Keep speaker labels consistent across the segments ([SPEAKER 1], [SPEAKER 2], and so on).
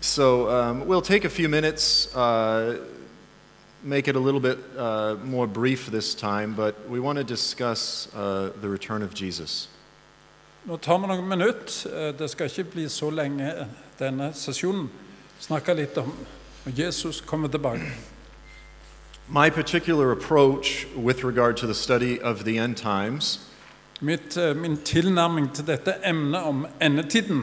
[SPEAKER 1] So um, we'll take a few minutes, uh, make it a little bit uh, more brief this time, but we want to discuss uh, the return of Jesus.
[SPEAKER 2] Nå tar vi noen minutter. Eh, Det skal ikke bli så lenge eh, denne sesjonen. Snakke litt om når Jesus kommer tilbake.
[SPEAKER 1] My particular approach with regard to the study of the end times
[SPEAKER 2] Mitt, eh, min tilnærming til dette emnet om endetiden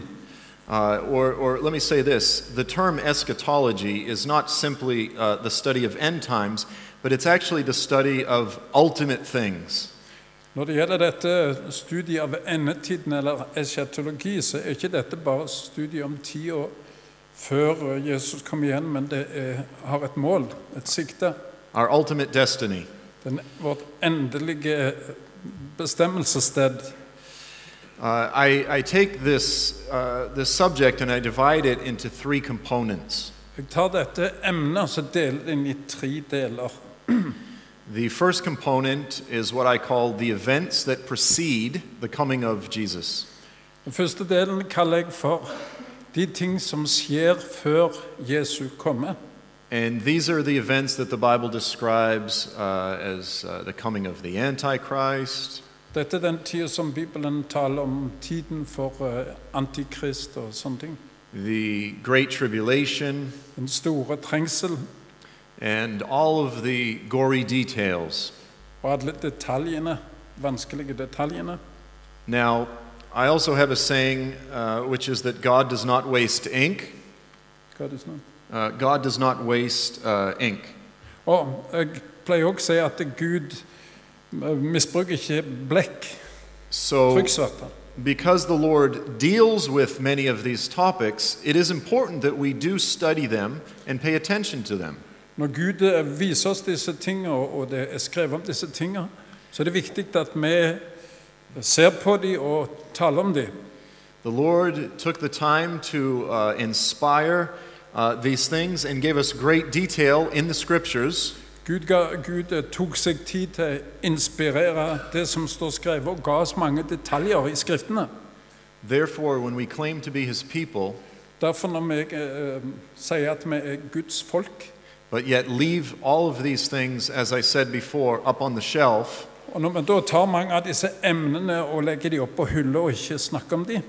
[SPEAKER 1] Uh, or, or let me say this the term eschatology is not simply uh, the study of end times, but it's actually the study of ultimate things.
[SPEAKER 2] Når det gjelder dette studiet av endetiden, eller eschatologi, så er ikke dette bare studiet om tida før eh, Jesus kommer igjen, men det er, har et mål, et sikte.
[SPEAKER 1] Our ultimate destiny.
[SPEAKER 2] Den, vårt endelige eh, bestemmelsessted.
[SPEAKER 1] Uh, I, I take this, uh, this subject and I divide it into three components.
[SPEAKER 2] Jeg tar dette emnet og så deler det inn i tre deler.
[SPEAKER 1] The first component is what I call the events that precede the coming of Jesus.
[SPEAKER 2] Den første delen kaller jeg for de ting som skjer før Jesu komme.
[SPEAKER 1] And these are the events that the Bible describes uh, as uh, the coming of the Antichrist,
[SPEAKER 2] Dette er den tida som Bibelen taler om tiden for eh, antikrist og sånne ting.
[SPEAKER 1] the Great Tribulation,
[SPEAKER 2] Den store trengsel
[SPEAKER 1] and all of the gory details.
[SPEAKER 2] og alle detaljene, vanskelige detaljene.
[SPEAKER 1] Now, I also have a saying, uh, which is that God does not waste ink.
[SPEAKER 2] Hva er det sånn?
[SPEAKER 1] Uh, God does not waste uh, ink.
[SPEAKER 2] Og jeg pleier også å si at Gud eh, misbruker ikke blekk,
[SPEAKER 1] So,
[SPEAKER 2] trykksverte.
[SPEAKER 1] because the Lord deals with many of these topics, it is important that we do study them and pay attention to them.
[SPEAKER 2] Når Gud eh, viser oss disse tingene, og det er skrevet om disse tingene, så er det viktig at vi ser på dem og taler om dem.
[SPEAKER 1] The Lord took the time to uh, inspire uh, these things and gave us great detail in the scriptures.
[SPEAKER 2] Gud, ga, Gud eh, tok seg tid til å inspirere det som står skrevet, og ga oss mange detaljer i Skriftene.
[SPEAKER 1] Therefore, when we claim to be his people,
[SPEAKER 2] Derfor når vi eh, sier at vi er Guds folk,
[SPEAKER 1] but yet leave all of these things, as I said before, up on the shelf,
[SPEAKER 2] og når vi da tar mange av disse emnene og legger dem opp på hylla og ikke snakker om dem,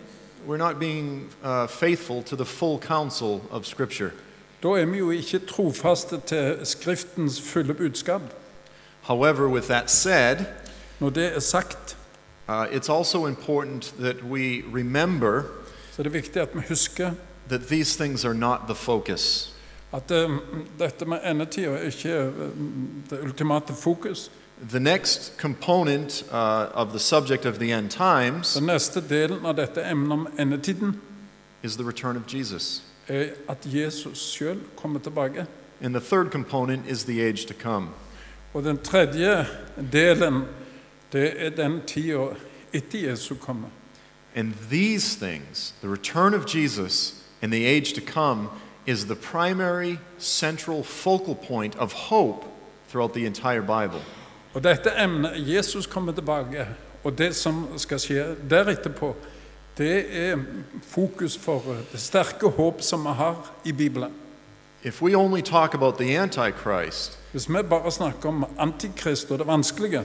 [SPEAKER 1] we're not being uh, faithful to the full counsel of Scripture.
[SPEAKER 2] da er vi jo ikke trofaste til Skriftens fulle budskap.
[SPEAKER 1] However, with that said,
[SPEAKER 2] Når det er sagt,
[SPEAKER 1] uh, it's also important that we remember
[SPEAKER 2] så er det viktig at vi husker
[SPEAKER 1] that these things are not the focus.
[SPEAKER 2] At eh, dette med endetida er ikke eh, det ultimate fokus.
[SPEAKER 1] The next component uh, of the subject of the end times
[SPEAKER 2] Den neste delen av dette emnet om endetiden
[SPEAKER 1] is the return of Jesus.
[SPEAKER 2] er at Jesus sjøl kommer tilbake.
[SPEAKER 1] And the third component is the age to come.
[SPEAKER 2] Og den tredje delen, det er den tida etter Jesus kommer.
[SPEAKER 1] And these things, the return of Jesus and the age to come, is the primary central focal point of hope throughout the entire Bible.
[SPEAKER 2] Og dette emnet, Jesus kommer tilbake, og det som skal skje der etterpå, det er fokus for eh, det sterke håp som vi har i Bibelen.
[SPEAKER 1] If we only talk about the Antichrist,
[SPEAKER 2] Hvis vi bare snakker om antikrist og det vanskelige,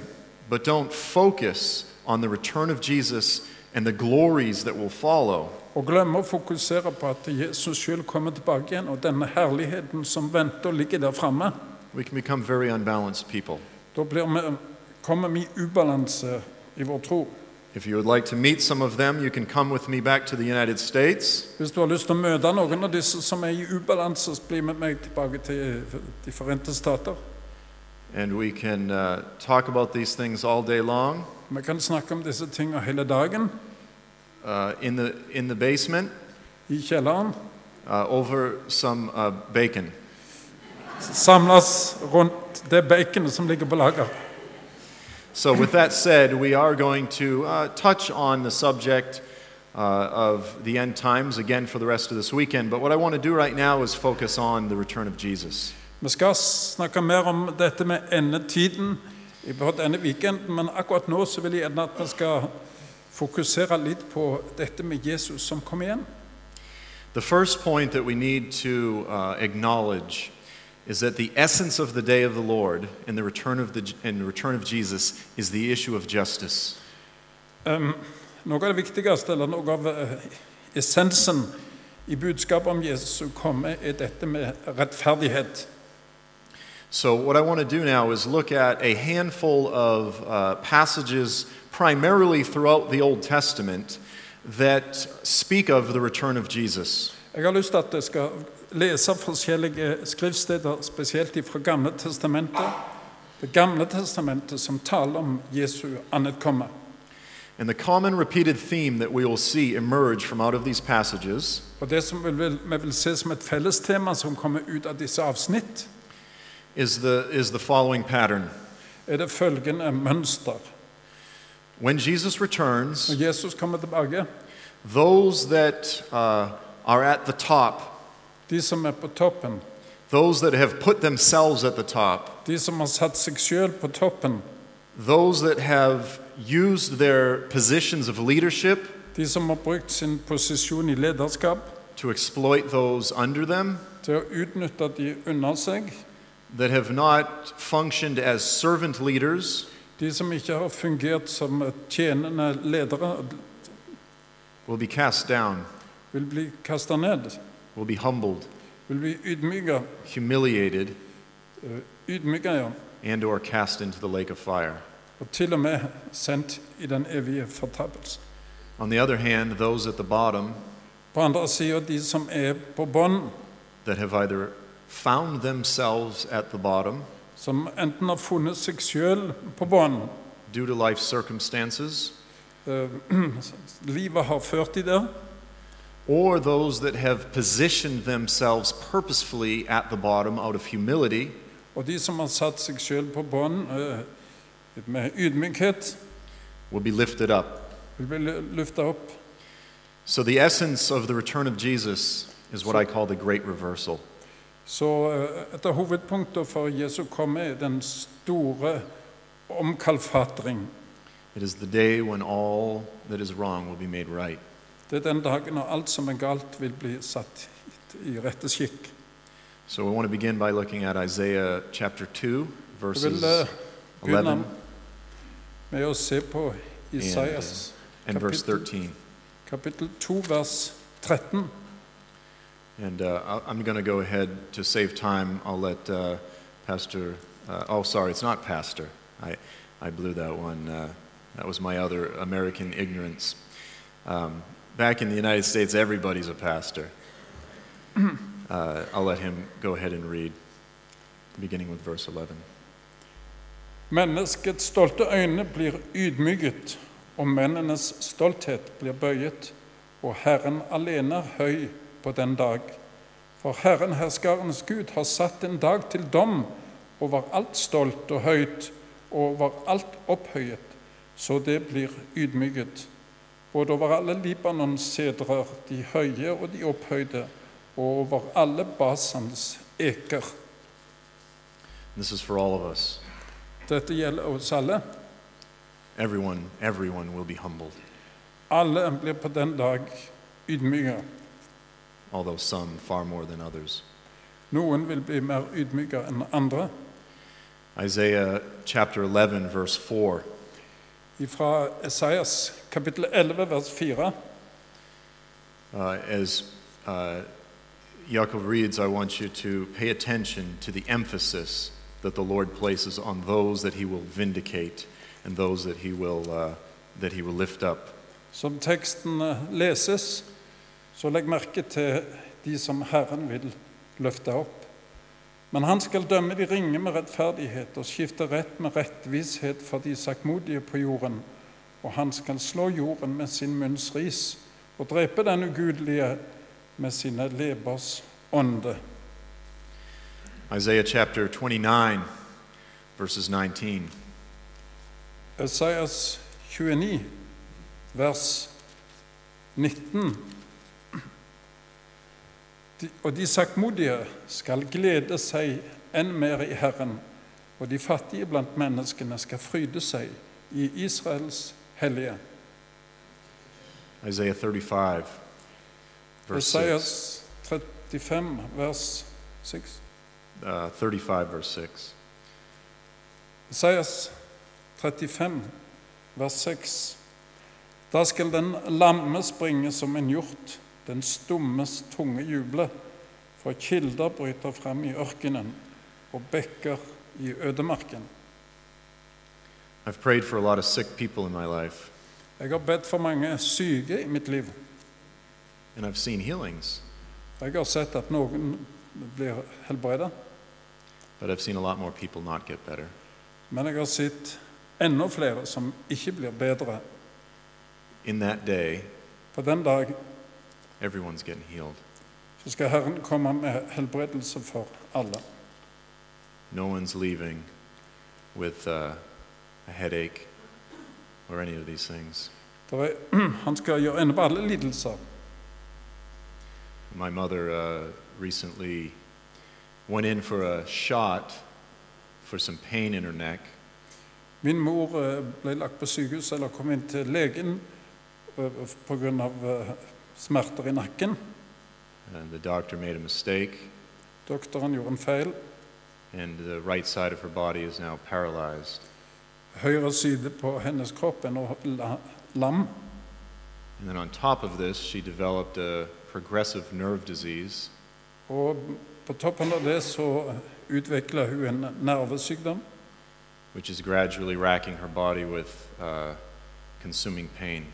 [SPEAKER 1] but don't focus on the return of Jesus and the glories that will follow,
[SPEAKER 2] Og glemme å fokusere på at Jesus sjøl kommer tilbake igjen, og denne herligheten som venter og ligger der framme.
[SPEAKER 1] we can become very unbalanced people.
[SPEAKER 2] Da blir vi, kommer vi i ubalanse i vår tro.
[SPEAKER 1] If you would like to meet some of them, you can come with me back to the United States.
[SPEAKER 2] Hvis du har lyst til å møte noen av disse som er i ubalanse, så bli med meg tilbake til eh, De forente stater.
[SPEAKER 1] And we can uh, talk about these things all day long
[SPEAKER 2] Vi kan snakke om disse tinga hele dagen
[SPEAKER 1] uh, in, the, in the basement.
[SPEAKER 2] i kjelleren.
[SPEAKER 1] uh, over some uh, bacon.
[SPEAKER 2] Samles rundt det baconet som ligger på lager.
[SPEAKER 1] So, with that said, we are going to uh, touch on the subject uh, of the end times again for the rest of this weekend. But what I want to do right now is focus on the return of Jesus.
[SPEAKER 2] Vi skal snakke mer om dette med endetiden i på denne weekenden, men akkurat nå så vil jeg gjerne at vi skal fokusere litt på dette med Jesus som kom igjen.
[SPEAKER 1] The first point that we need to uh, acknowledge is that the essence of the day of the Lord and the return of, the, and the return of Jesus is the issue of justice.
[SPEAKER 2] Noe av det viktigste, eller noe av eh, essensen i budskapet om Jesus komme, er dette med rettferdighet.
[SPEAKER 1] So, what I want to do now is look at a handful of uh, passages, primarily throughout the Old Testament, that speak of the return of Jesus.
[SPEAKER 2] Jeg har lyst til at jeg skal lese forskjellige skriftsteder, spesielt fra Gamle testamentet. Det Gamle testamentet som taler om Jesu anetkomme.
[SPEAKER 1] And the common repeated theme that we will see emerge from out of these passages
[SPEAKER 2] Og Det som vi vil, vi vil se som et fellestema som kommer ut av disse avsnitt,
[SPEAKER 1] is the, is the following pattern.
[SPEAKER 2] er det følgende mønster.
[SPEAKER 1] When Jesus returns,
[SPEAKER 2] Når Jesus kommer tilbake,
[SPEAKER 1] those that uh, are at the top,
[SPEAKER 2] de som er på toppen,
[SPEAKER 1] those that have put themselves at the top,
[SPEAKER 2] de som har satt seg sjøl på toppen,
[SPEAKER 1] those that have used their positions of leadership
[SPEAKER 2] de som har brukt sin posisjon i lederskap
[SPEAKER 1] to exploit those under them,
[SPEAKER 2] til å utnytte de under seg,
[SPEAKER 1] that have not functioned as servant leaders,
[SPEAKER 2] de som ikke har fungert som tjenende ledere,
[SPEAKER 1] will be cast down,
[SPEAKER 2] vil bli kasta ned,
[SPEAKER 1] will be humbled,
[SPEAKER 2] vil bli ydmyka,
[SPEAKER 1] humiliated,
[SPEAKER 2] eh, ydmyka ja,
[SPEAKER 1] and or cast into the lake of fire.
[SPEAKER 2] og til og med sendt i den evige fortapelse.
[SPEAKER 1] On the other hand, those at the bottom
[SPEAKER 2] På andre sida de som er på bånn,
[SPEAKER 1] that have either found themselves at the bottom
[SPEAKER 2] som enten har funnet seg sjøl på bånn,
[SPEAKER 1] due to life circumstances,
[SPEAKER 2] eh, livet har ført de der,
[SPEAKER 1] or those that have positioned themselves purposefully at the bottom out of humility,
[SPEAKER 2] og de som har satt seg sjøl på bånn eh, med ydmykhet,
[SPEAKER 1] will be lifted up.
[SPEAKER 2] vil bli løfta opp.
[SPEAKER 1] So, the essence of the return of Jesus is what I call the great reversal.
[SPEAKER 2] Så eh, et av hovedpunktene for Jesu komme er den store omkalfatring.
[SPEAKER 1] It is the day when all that is wrong will be made right.
[SPEAKER 2] Det er den dagen når alt som er galt, vil bli satt i rette skikk.
[SPEAKER 1] So, we want to begin by looking at Isaiah chapter 2,
[SPEAKER 2] Jeg vil
[SPEAKER 1] verses
[SPEAKER 2] eh, begynne
[SPEAKER 1] 11
[SPEAKER 2] med å se på Isaias
[SPEAKER 1] and verse
[SPEAKER 2] kapitel-
[SPEAKER 1] 13.
[SPEAKER 2] kapittel 2, vers 13.
[SPEAKER 1] And uh, I- I'm going to go ahead to save time. I'll let uh, Pastor. Uh, oh, sorry, it's not Pastor. I, I blew that one. Uh, that was my other American ignorance. Um, back in the United States, everybody's a pastor. Uh, I'll let him go ahead and read, beginning with verse 11.
[SPEAKER 2] Menneskets stolte øyne blir ydmyket, og mennenes stolthet blir bøyet, og Herren alene er høy på den dag. For Herren herskarens Gud har satt en dag til dom over alt stolt og høyt, og over alt opphøyet, så det blir ydmyket. Både over alle Libanons sedrer, de høye og de opphøyde, og over alle Basans eker.
[SPEAKER 1] This is for all of us.
[SPEAKER 2] Dette gjelder oss alle.
[SPEAKER 1] Everyone, everyone will be humbled,
[SPEAKER 2] Alle blir på den dag ydmyka.
[SPEAKER 1] although some far more than others.
[SPEAKER 2] Noen vil bli mer ydmyka enn andre.
[SPEAKER 1] Isaiah chapter 11, verse 4.
[SPEAKER 2] Fra Esaias kapittel 11 vers 4.
[SPEAKER 1] Uh, as uh, Yaakov reads, I want you to pay attention to the emphasis that the Lord places on those that He will vindicate and those that He will, uh, that he will lift up.
[SPEAKER 2] Som teksten eh, leses, så legg merke til de som Herren vil løfte opp. Men han skal dømme de ringe med rettferdighet og skifte rett med rettvishet for de saktmodige på jorden. Og han skal slå jorden med sin munns ris og drepe den ugudelige med sine lebers ånde.
[SPEAKER 1] Isaiah chapter 29, verses 19.
[SPEAKER 2] Esaias 29, vers 19. De, og de saktmodige skal glede seg enn mer i Herren, og de fattige blant menneskene skal fryde seg i Israels hellige.
[SPEAKER 1] Isaiah 35, verse 6.
[SPEAKER 2] Esaias 35, vers 6.
[SPEAKER 1] Uh, 35, verse 6.
[SPEAKER 2] Esaias 35, vers 6. Da skal den lamme springe som en hjort, den stummes tunge juble, for kilder bryter frem i ørkenen og bekker i ødemarken.
[SPEAKER 1] I've prayed for a lot of sick people in my life,
[SPEAKER 2] Jeg har bedt for mange syke i mitt liv.
[SPEAKER 1] and I've seen healings,
[SPEAKER 2] Jeg har sett at noen blir helbredet,
[SPEAKER 1] but I've seen a lot more people not get better.
[SPEAKER 2] men jeg har sett enda flere som ikke blir bedre.
[SPEAKER 1] In that day,
[SPEAKER 2] På den dag
[SPEAKER 1] everyone's getting healed.
[SPEAKER 2] så skal Herren komme med helbredelse for alle.
[SPEAKER 1] No one's leaving with uh, a headache or any of these things.
[SPEAKER 2] Der er, han skal gjøre ende på alle lidelser.
[SPEAKER 1] My mother uh, recently went in for a shot for some pain in her neck,
[SPEAKER 2] Min mor eh, ble lagt på sykehus eller kom inn til legen eh, pga. eh, smerter i nakken.
[SPEAKER 1] and the doctor made a mistake,
[SPEAKER 2] Doktoren gjorde en feil.
[SPEAKER 1] and the right side of her body is now paralyzed.
[SPEAKER 2] Høyre side på hennes kropp er nå la- lam.
[SPEAKER 1] And then on top of this, she developed a progressive nerve disease,
[SPEAKER 2] Og på toppen av det så utvikla hun en nervesykdom
[SPEAKER 1] which is gradually racking her body with uh, consuming pain.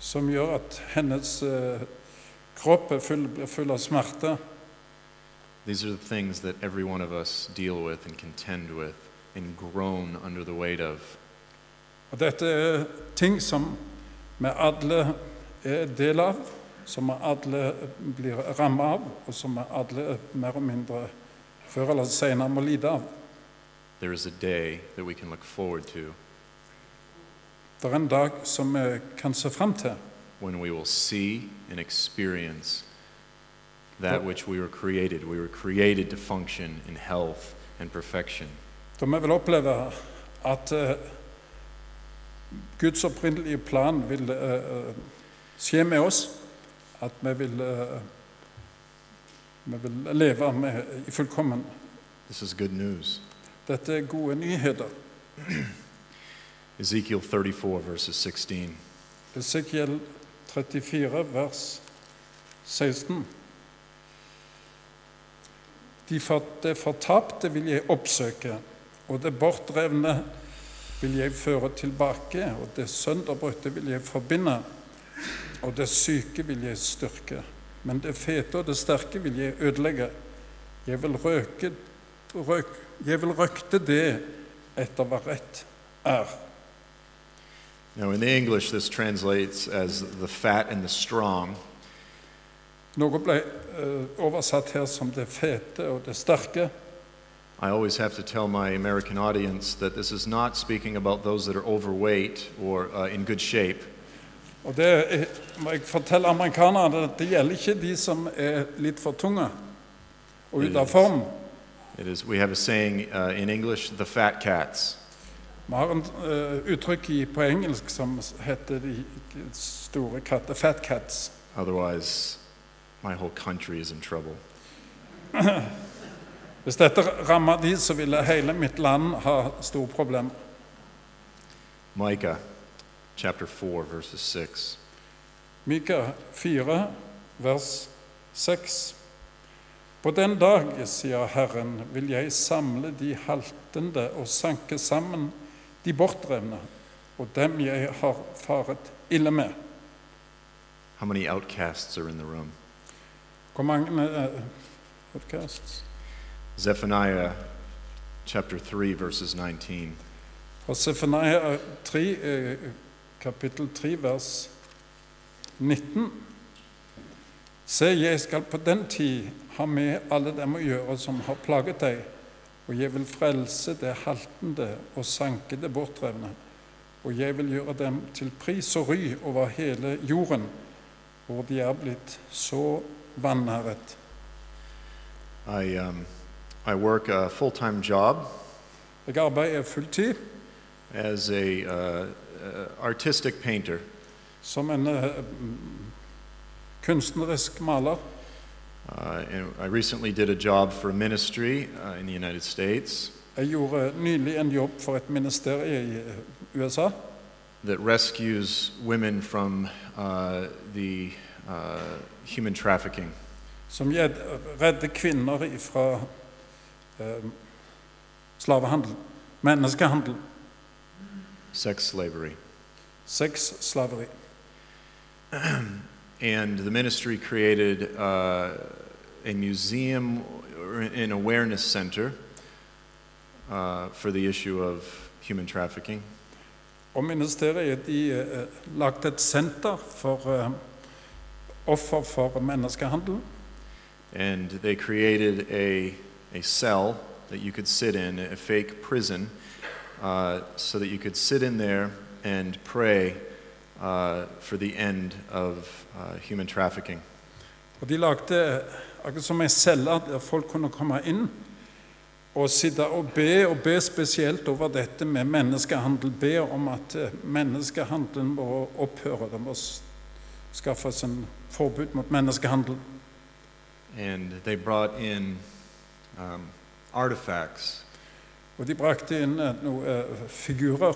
[SPEAKER 2] som gjør at hennes eh, kropp er full, blir full av smerte.
[SPEAKER 1] These are the things that every one of us deal with and contend with and groan under the weight of.
[SPEAKER 2] Og dette er ting som vi alle er del av, som vi alle blir rammet av, og som vi alle mer og mindre før eller senere må lide av.
[SPEAKER 1] There is a day that we can look forward to
[SPEAKER 2] Det er en dag som vi kan se fram til,
[SPEAKER 1] when we will see and experience that which we were created. We were created to function in health and perfection.
[SPEAKER 2] da vi vil oppleve at eh, Guds opprinnelige plan vil eh, eh, skje med oss, at vi vil, eh, vi vil leve med, i fullkommen.
[SPEAKER 1] This is good news.
[SPEAKER 2] Dette er gode nyheter.
[SPEAKER 1] Ezekiel 34, verses 16.
[SPEAKER 2] Esekiel 34, vers 16. De for, det fortapte vil jeg oppsøke, og det bortrevne vil jeg føre tilbake, og det sønderbrutte vil jeg forbinde, og det syke vil jeg styrke. Men det fete og det sterke vil jeg ødelegge. Jeg vil, røke, røk, jeg vil røkte det etter hva rett er.
[SPEAKER 1] Now, in the English, this translates as the fat and the strong,
[SPEAKER 2] Noe ble eh, oversatt her som 'det fete og det sterke'.
[SPEAKER 1] I always have to tell my American audience that this is not speaking about those that are overweight or uh, in good shape.
[SPEAKER 2] Og det er, må jeg fortelle amerikanerne at det gjelder ikke de som er litt for tunge og ute av form.
[SPEAKER 1] It is, we have a saying uh, in English, the fat cats.
[SPEAKER 2] Vi har et uttrykk i, på engelsk som heter de store katter 'fat cats'.
[SPEAKER 1] Otherwise, my whole country is in trouble.
[SPEAKER 2] Hvis dette rammer de, så ville hele mitt land ha store problemer.
[SPEAKER 1] Micah chapter 4, verses 6.
[SPEAKER 2] Mika 4, vers 6. På den dag, sier Herren, vil jeg samle de haltende og sanke sammen de bortrevne og dem jeg har faret ille med.
[SPEAKER 1] How many outcasts are in the room?
[SPEAKER 2] Hvor mange eh, podcasts?
[SPEAKER 1] Zephaniah chapter 3, verses 19.
[SPEAKER 2] Fra Sefania 3, eh, kapittel 3, vers 19. Se, jeg skal på den tid ha med alle dem å gjøre som har plaget deg, og jeg vil frelse det haltende og sanke det bortrevne, og jeg vil gjøre dem til pris og ry over hele jorden, hvor de er blitt så vanæret.
[SPEAKER 1] I, um, I work a full time job
[SPEAKER 2] Jeg arbeider fulltid
[SPEAKER 1] as a uh, uh, artistic painter.
[SPEAKER 2] som en eh, kunstnerisk maler.
[SPEAKER 1] Uh, and I recently did a job for a ministry uh, in the United States
[SPEAKER 2] Jeg gjorde nylig en jobb for et ministerium i eh, USA
[SPEAKER 1] that rescues women from uh, the uh, human trafficking.
[SPEAKER 2] som gjed- redder kvinner fra eh, slavehandel, menneskehandel,
[SPEAKER 1] sex slavery.
[SPEAKER 2] sexslaveri.
[SPEAKER 1] And the ministry created uh, a museum or an awareness center uh, for the issue of human trafficking.
[SPEAKER 2] Og ministeriet de eh, lagde et senter for eh, offer for menneskehandel.
[SPEAKER 1] And they created a, a cell that you could sit in, a fake prison, uh, so that you could sit in there and pray uh, for the end of uh, human trafficking.
[SPEAKER 2] Og de lagde akkurat som ei celle der folk kunne komme inn og sitte og be, og be spesielt over dette med menneskehandel. Be om at eh, menneskehandelen må opphøre. Det må s- skaffes en forbud mot menneskehandel.
[SPEAKER 1] And they brought in um, artifacts
[SPEAKER 2] Og de brakte inn eh, noen eh, figurer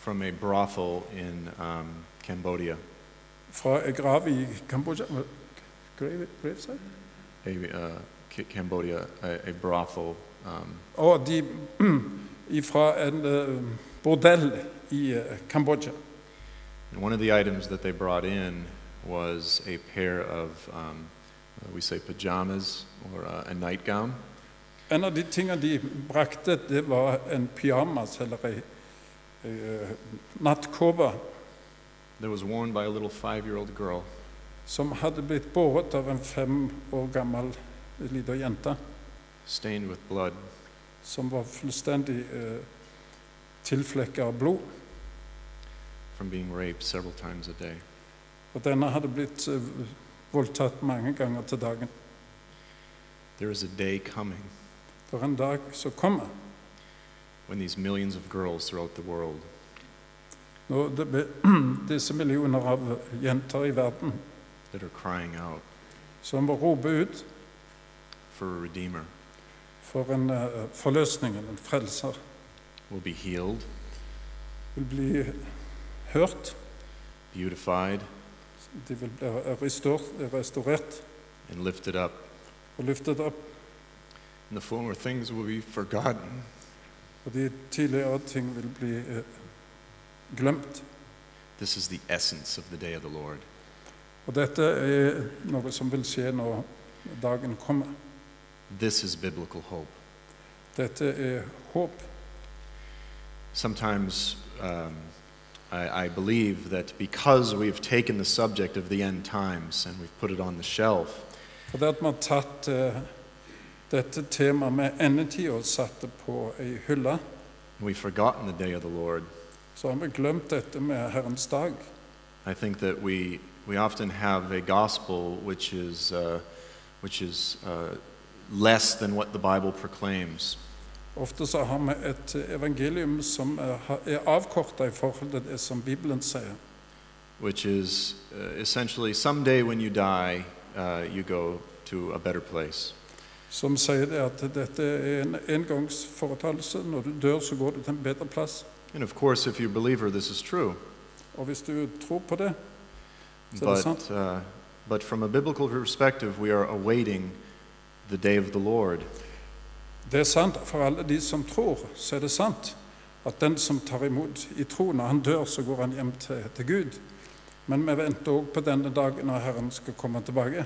[SPEAKER 1] from a brothel in um, Cambodia,
[SPEAKER 2] fra ei grav i Kambodsja. Grave, gravesite?
[SPEAKER 1] a, uh, K- Cambodia, a, a brothel. Um,
[SPEAKER 2] Og de fra en eh, bordell i eh, Kambodsja.
[SPEAKER 1] and one of the items that they brought in was a pair of, um, uh, we say pajamas or uh, a nightgown.
[SPEAKER 2] En av de tingene de brakte, det var en pyjamas eller ei eh, nattkåpe
[SPEAKER 1] that was worn by a little five-year-old girl.
[SPEAKER 2] som hadde blitt båret av en fem år gammel lita jente
[SPEAKER 1] Stained with blood,
[SPEAKER 2] som var fullstendig uh, tilflekka av blod.
[SPEAKER 1] from being raped several times a day.
[SPEAKER 2] Og denne hadde blitt eh, voldtatt mange ganger til dagen.
[SPEAKER 1] There is a day coming
[SPEAKER 2] Det er en dag som kommer,
[SPEAKER 1] when these millions of girls throughout the world
[SPEAKER 2] når det blir disse millioner av jenter i verden
[SPEAKER 1] that are crying out
[SPEAKER 2] som roper ut
[SPEAKER 1] for a redeemer
[SPEAKER 2] for en eh, forløsning, en frelser,
[SPEAKER 1] will be healed,
[SPEAKER 2] vil bli hørt.
[SPEAKER 1] beautified,
[SPEAKER 2] De vil bli restaur- restaurert
[SPEAKER 1] and lifted up.
[SPEAKER 2] og løftet opp.
[SPEAKER 1] And the former things will be forgotten,
[SPEAKER 2] Og de tidligere ting vil bli eh, glemt.
[SPEAKER 1] This is the essence of the day of the Lord.
[SPEAKER 2] Og dette er noe som vil skje når dagen kommer.
[SPEAKER 1] This is biblical hope.
[SPEAKER 2] Dette er håp.
[SPEAKER 1] Sometimes um, I, I believe that because we've taken the subject of the end times and we've put it on the shelf,
[SPEAKER 2] For det at vi har tatt eh, dette temaet med endetid og satt det på ei hylle,
[SPEAKER 1] we've forgotten the day of the Lord,
[SPEAKER 2] så har vi glemt dette med Herrens dag.
[SPEAKER 1] I think that we, we often have a gospel which is, uh, which is uh, less than what the Bible proclaims.
[SPEAKER 2] Ofte så har vi et evangelium som eh, ha- er avkorta i forhold til det som Bibelen sier.
[SPEAKER 1] which is uh, essentially someday when you die, uh, you go to a better place.
[SPEAKER 2] som sier det at dette er en engangsforeteelse. Når du dør, så går du til en bedre plass.
[SPEAKER 1] And of course, if you're a believer, this is true.
[SPEAKER 2] Og hvis du tror på det, So that's
[SPEAKER 1] But, uh, but from a biblical perspective, we are awaiting the day of the Lord.
[SPEAKER 2] det er sant for alle de som tror, så er det sant at den som tar imot i tro, når han dør, så går han hjem til, til Gud. Men vi venter òg på denne dagen når Herren skal komme tilbake.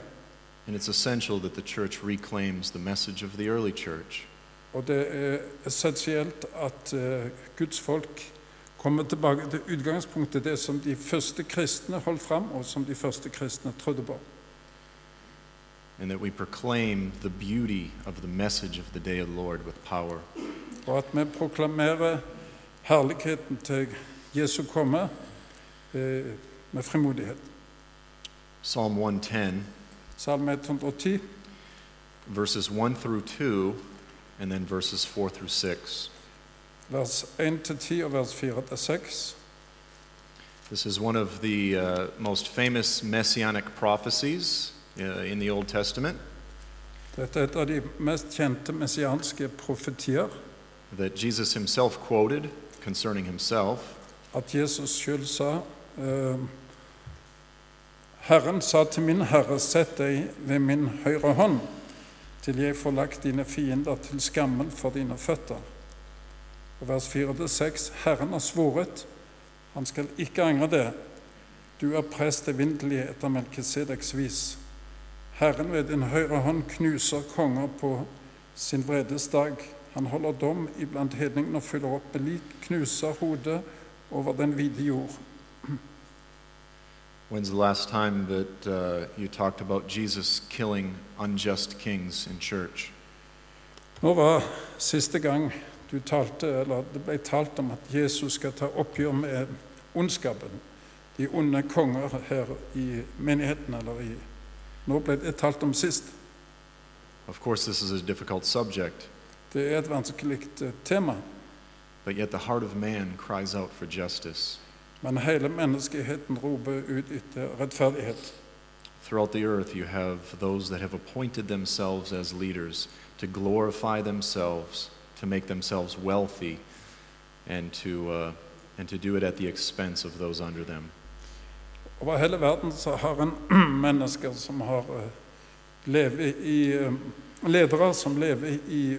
[SPEAKER 1] And it's essential that the church reclaims the message of the early church
[SPEAKER 2] Og det er essensielt at eh, Guds folk kommer tilbake til utgangspunktet, det som de første kristne holdt fram, og som de første kristne trodde på.
[SPEAKER 1] and that we proclaim the beauty of the message of the day of the Lord with power.
[SPEAKER 2] og at vi proklamerer herligheten til Jesu komme eh, med frimodighet.
[SPEAKER 1] Psalm 110,
[SPEAKER 2] Salme 110,
[SPEAKER 1] verses 1 through 2, and then verses 4 through 6.
[SPEAKER 2] vers 1-10 og vers 4-6.
[SPEAKER 1] This is one of the uh, most famous messianic prophecies uh, in the Old Testament
[SPEAKER 2] Dette er et av de mest kjente messianske profetier,
[SPEAKER 1] that Jesus himself quoted concerning himself.
[SPEAKER 2] at Jesus sjøl sa eh, Herren sa til min Herre, sett deg ved min høyre hånd, til jeg får lagt dine fiender til skammen for dine føtter. Og vers 4-6, Herren har svoret, han skal ikke angre det. Du er prest evinnelig etter Melkisedeks vis. Herren ved din høyre hånd knuser konger på sin vredes dag. Han holder dom iblant hedningene og fyller opp med lik, knuser hodet over den vide jord.
[SPEAKER 1] When's the last time that uh, you talked about Jesus killing unjust kings in church?
[SPEAKER 2] Nå var siste gang du talte, eller det ble talt om at Jesus skal ta oppgjør med ondskapen, de onde konger her i menigheten eller i Nå ble det talt om sist.
[SPEAKER 1] Of course, this is a difficult subject,
[SPEAKER 2] Det er et vanskelig eh, tema,
[SPEAKER 1] but yet the heart of man cries out for justice.
[SPEAKER 2] men hele menneskeheten roper ut etter rettferdighet.
[SPEAKER 1] Throughout the earth, you have those that have appointed themselves as leaders to glorify themselves, to make themselves wealthy, and to, uh, and to do it at the expense of those under them.
[SPEAKER 2] Over hele verden så har en mennesker som har eh, leve i eh, Ledere som lever i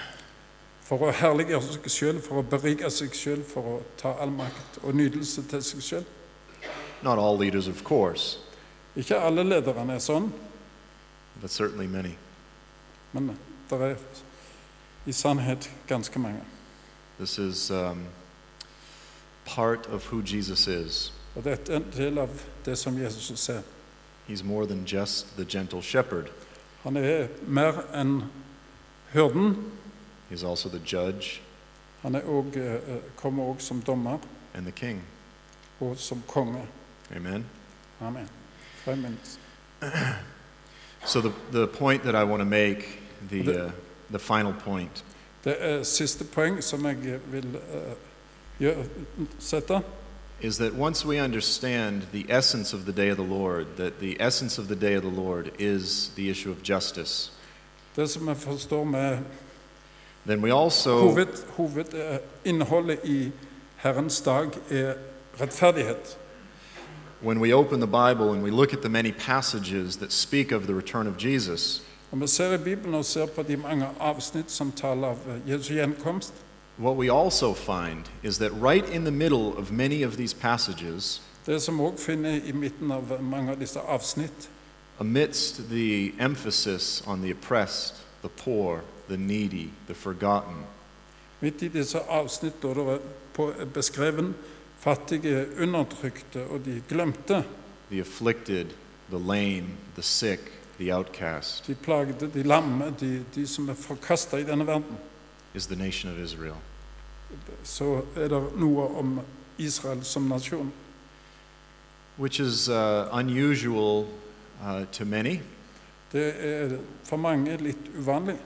[SPEAKER 2] For å herliggjøre seg sjøl, for å berike seg sjøl, for å ta all makt og nytelse til seg sjøl.
[SPEAKER 1] Not all leaders, of course,
[SPEAKER 2] Ikke alle lederne er sånn,
[SPEAKER 1] but certainly many.
[SPEAKER 2] men det er i sannhet ganske mange.
[SPEAKER 1] This is um, part of who Jesus is.
[SPEAKER 2] Og dette er en del av det som Jesus er.
[SPEAKER 1] He's more than just the gentle shepherd,
[SPEAKER 2] Han er mer enn hyrden.
[SPEAKER 1] he's also the judge
[SPEAKER 2] Han er også, eh, kommer òg som dommer
[SPEAKER 1] and the king.
[SPEAKER 2] og som konge.
[SPEAKER 1] Amen.
[SPEAKER 2] Amen. Five minutes.
[SPEAKER 1] So, the, the point that I want to make, the,
[SPEAKER 2] The-
[SPEAKER 1] uh, the final point,
[SPEAKER 2] Det er siste poeng som jeg vil eh, gjø- sette.
[SPEAKER 1] is that once we understand the essence of the day of the Lord, that the essence of the day of the Lord is the issue of justice,
[SPEAKER 2] Det som jeg forstår med
[SPEAKER 1] then we also,
[SPEAKER 2] hoved, hovedinnholdet i Herrens dag, er rettferdighet.
[SPEAKER 1] when we open the Bible and we look at the many passages that speak of the return of Jesus,
[SPEAKER 2] Når vi ser i Bibelen og ser på de mange avsnitt som taler av eh, Jesu gjenkomst,
[SPEAKER 1] what we also find is that right in the middle of many of these passages,
[SPEAKER 2] det som vi òg finner i midten av eh, mange av disse avsnitt,
[SPEAKER 1] amidst the emphasis on the oppressed, the poor, the needy, the forgotten,
[SPEAKER 2] midt i disse avsnitt da det er på, eh, beskreven fattige, undertrykte og de glemte,
[SPEAKER 1] the afflicted, the lame, the sick, the outcast,
[SPEAKER 2] de plagde, de lamme, de, de som er forkasta i denne verden.
[SPEAKER 1] is the nation of Israel.
[SPEAKER 2] så er det noe om Israel som nasjon.
[SPEAKER 1] which is uh, unusual uh, to many
[SPEAKER 2] Det er for mange litt uvanlig.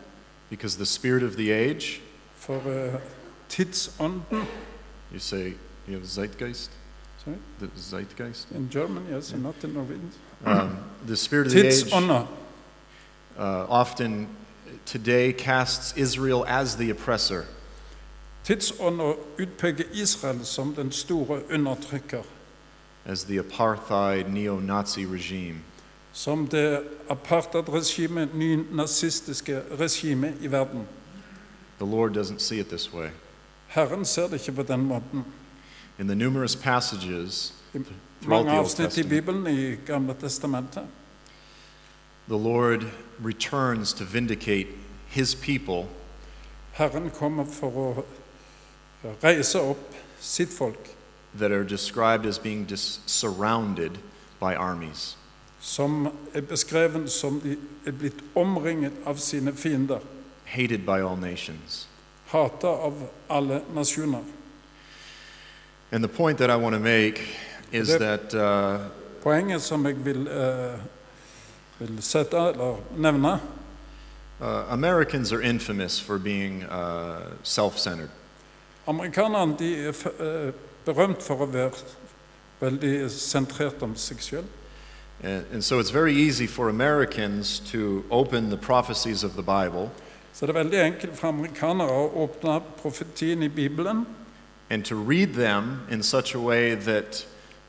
[SPEAKER 1] because the spirit of the age,
[SPEAKER 2] For eh, tidsånden
[SPEAKER 1] you say, you have zeitgeist,
[SPEAKER 2] Sorry,
[SPEAKER 1] the zeitgeist,
[SPEAKER 2] in German, yes, and not in Norwegian.
[SPEAKER 1] um, the spirit of the age uh,
[SPEAKER 2] Tidsånda.
[SPEAKER 1] often today casts Israel as the oppressor.
[SPEAKER 2] Tidsånda utpeker Israel som den store undertrykker.
[SPEAKER 1] As the apartheid neo Nazi regime.
[SPEAKER 2] Som det apartheidregimet, nynazistiske regimet i verden.
[SPEAKER 1] The Lord doesn't see it this way.
[SPEAKER 2] Herren ser det ikke på den måten.
[SPEAKER 1] In the numerous passages
[SPEAKER 2] I
[SPEAKER 1] throughout
[SPEAKER 2] mange
[SPEAKER 1] the Old
[SPEAKER 2] avsnitt i
[SPEAKER 1] Testament,
[SPEAKER 2] Bibelen, i Gamle testamentet,
[SPEAKER 1] the Lord returns to vindicate his people
[SPEAKER 2] Herren kommer for å reise opp sitt folk,
[SPEAKER 1] that are described as being dis- surrounded by armies.
[SPEAKER 2] som er beskreven som de er blitt omringet av sine fiender,
[SPEAKER 1] hated by all nations.
[SPEAKER 2] hatet av alle nasjoner.
[SPEAKER 1] And the point that I want to make is
[SPEAKER 2] There-
[SPEAKER 1] that uh,
[SPEAKER 2] Poenget som jeg vil, eh, vil sette, eller nevne
[SPEAKER 1] uh, Americans are infamous for being uh, self centered.
[SPEAKER 2] Amerikanerne de er f- eh, berømt for å være veldig sentrert om seg sjøl.
[SPEAKER 1] And, and so it's very easy for Americans to open the prophecies of the Bible
[SPEAKER 2] Så det er veldig enkelt for amerikanere å åpne profetien i Bibelen
[SPEAKER 1] and to read them in such a way that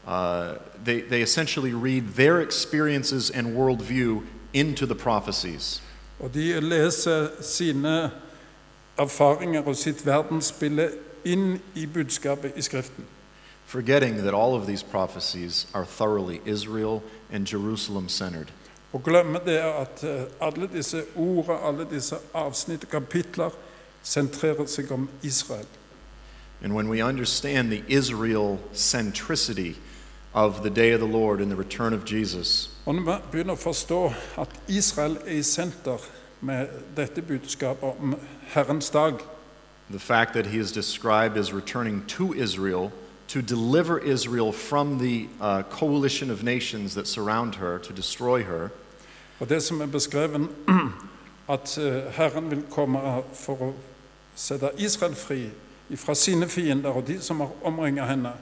[SPEAKER 1] uh, they, they essentially read their experiences and worldview into the prophecies.
[SPEAKER 2] Og de leser sine erfaringer og sitt verdensbilde inn i budskapet i Skriften.
[SPEAKER 1] Forgetting that all of these prophecies are thoroughly Israel and Jerusalem centered.
[SPEAKER 2] Og glemmer det at eh, alle disse ordene, alle disse avsnitt og kapitler sentrerer seg om Israel.
[SPEAKER 1] And when we understand the Israel centricity of the day of the Lord and the return of Jesus,
[SPEAKER 2] Og når vi begynner å forstå at Israel er i senter med dette budskapet om Herrens dag,
[SPEAKER 1] the fact that he is described as returning to Israel to deliver Israel from the uh, coalition of nations that surround her, to destroy her,
[SPEAKER 2] og det som er beskrevet at eh, Herren vil komme eh, for å sette Israel fri fra sine fiender og de som har omringet henne,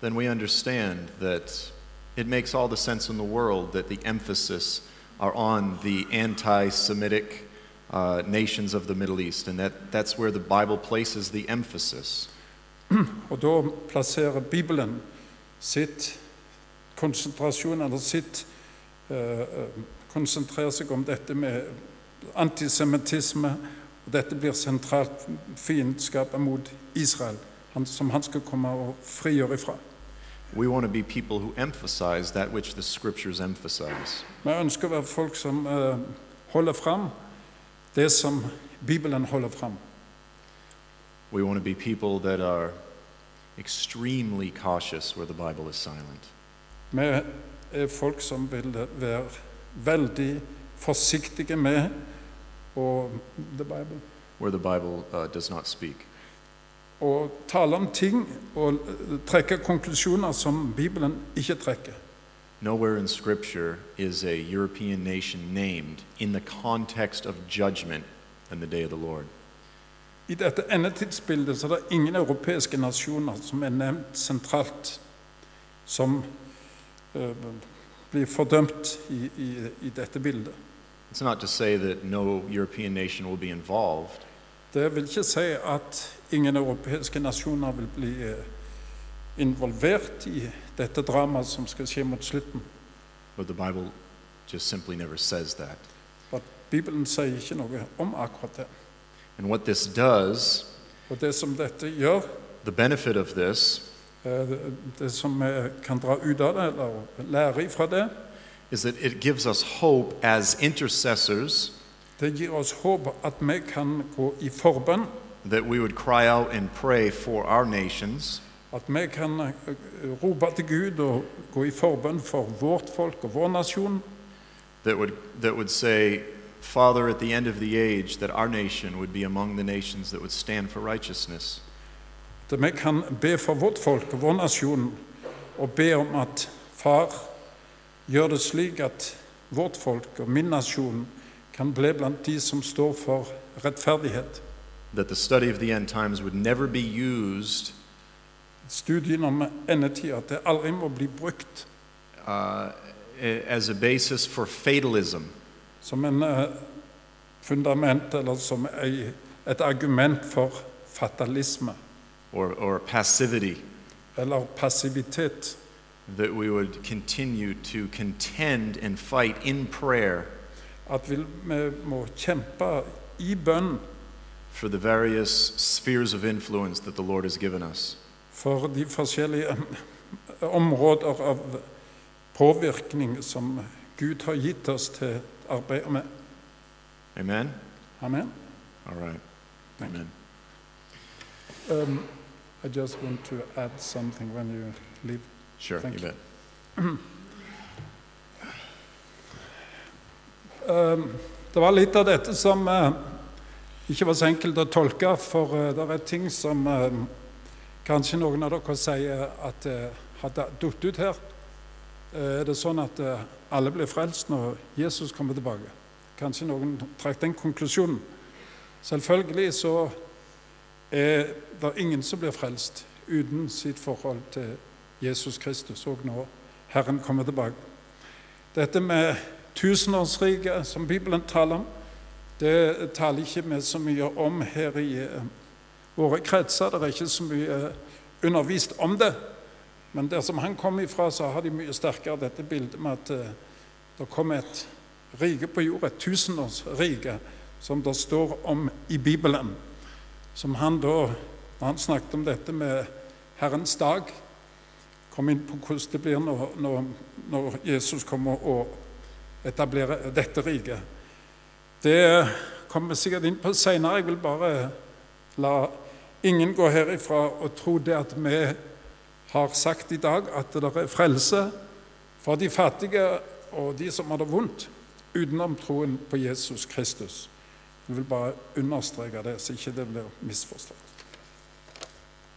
[SPEAKER 1] then we understand that it makes all the sense in the world that the emphasis are on the anti Semitic uh, nations of the Middle East, and that, that's where the Bible places the emphasis.
[SPEAKER 2] Og da plasserer Bibelen sitt konsentrasjon, eller sitt eh, eh, konsentrerer seg om dette med antisemittisme. og Dette blir sentralt fiendskapet mot Israel, han, som han skal komme og frigjøre ifra.
[SPEAKER 1] We want to be people who emphasize that which the scriptures emphasize.
[SPEAKER 2] Vi ønsker å være folk som eh, holder fram det som Bibelen holder fram.
[SPEAKER 1] We want to be people that are extremely cautious where the Bible is silent.
[SPEAKER 2] Vi er folk som vil være veldig forsiktige med å The Bible.
[SPEAKER 1] where the Bible uh, does not speak.
[SPEAKER 2] å tale om ting og eh, trekke konklusjoner som Bibelen ikke trekker.
[SPEAKER 1] Nowhere in Scripture is a European nation named in the context of judgment and the day of the Lord.
[SPEAKER 2] I dette endetidsbildet så er det ingen europeiske nasjoner som er nevnt sentralt, som eh, blir fordømt i, i, i dette bildet.
[SPEAKER 1] It's not to say that no European nation will be involved,
[SPEAKER 2] Det vil ikke si at ingen europeiske nasjoner vil bli eh, involvert i dette dramaet som skal skje mot slutten.
[SPEAKER 1] but the Bible just simply never says that.
[SPEAKER 2] For Bibelen sier ikke noe om akkurat det.
[SPEAKER 1] And what this does,
[SPEAKER 2] Og det som dette gjør,
[SPEAKER 1] the benefit of this,
[SPEAKER 2] Eh, Det det som vi kan dra ut av det, eller lære ifra det,
[SPEAKER 1] is that it gives us hope as intercessors
[SPEAKER 2] det gir oss håp at vi kan gå i forbønn.
[SPEAKER 1] that we would cry out and pray for our nations,
[SPEAKER 2] At vi kan eh, rope til Gud og gå i forbønn for vårt folk og vår nasjon.
[SPEAKER 1] that would, that would say, Father, at the end of the age, that our nation would be among the nations that would stand for righteousness.
[SPEAKER 2] At vi kan be for vårt folk og vår nasjon og be om at Far gjør det slik at vårt folk og min nasjon kan bli blant de som står for rettferdighet.
[SPEAKER 1] That the study of the end times would never be used
[SPEAKER 2] Studien om endetid, at det aldri må bli brukt
[SPEAKER 1] uh, a- as a basis for fatalism,
[SPEAKER 2] som en eh, fundament eller som ei, et argument for fatalisme
[SPEAKER 1] or, or passivity,
[SPEAKER 2] eller passivitet.
[SPEAKER 1] that we would continue to contend and fight in prayer
[SPEAKER 2] At vi vi må kjempe i bønn
[SPEAKER 1] for the various spheres of influence that the Lord has given us.
[SPEAKER 2] for de forskjellige eh, områder av påvirkning som Gud har gitt oss til å arbeide med.
[SPEAKER 1] Amen?
[SPEAKER 2] Amen.
[SPEAKER 1] All right.
[SPEAKER 2] Thank
[SPEAKER 1] Amen.
[SPEAKER 2] Um, I just want to add something when you leave.
[SPEAKER 1] Sure,
[SPEAKER 2] Thank
[SPEAKER 1] you
[SPEAKER 2] you.
[SPEAKER 1] bet.
[SPEAKER 2] Eh, Det var litt av dette som eh, ikke var så enkelt å tolke, for eh, det er ting som eh, kanskje noen av dere sier at eh, har da- dutt ut her. Eh, Er det sånn at eh, alle blir frelst når Jesus kommer tilbake? Kanskje noen trakk den konklusjonen. Selvfølgelig så er det ingen som blir frelst uten sitt forhold til Jesus Kristus òg når Herren kommer tilbake. Dette med tusenårsriket som Bibelen taler om, det taler ikke vi så mye om her i eh, våre kretser. Det er ikke så mye eh, undervist om det. Men der som han kom ifra, så har de mye sterkere dette bildet med at eh, det kom et rike på jord, et tusenårsrike, som det står om i Bibelen. Som han da, når han snakket om dette med Herrens dag, kom inn på hvordan det blir når, når, når Jesus kommer og etablerer dette riket. Det kommer vi sikkert inn på senere. Jeg vil bare la ingen gå herifra og tro det at vi har sagt i dag at det er frelse for de fattige og de som har det vondt, utenom troen på Jesus Kristus. Jeg vil bare understreke det, så ikke det blir misforstått.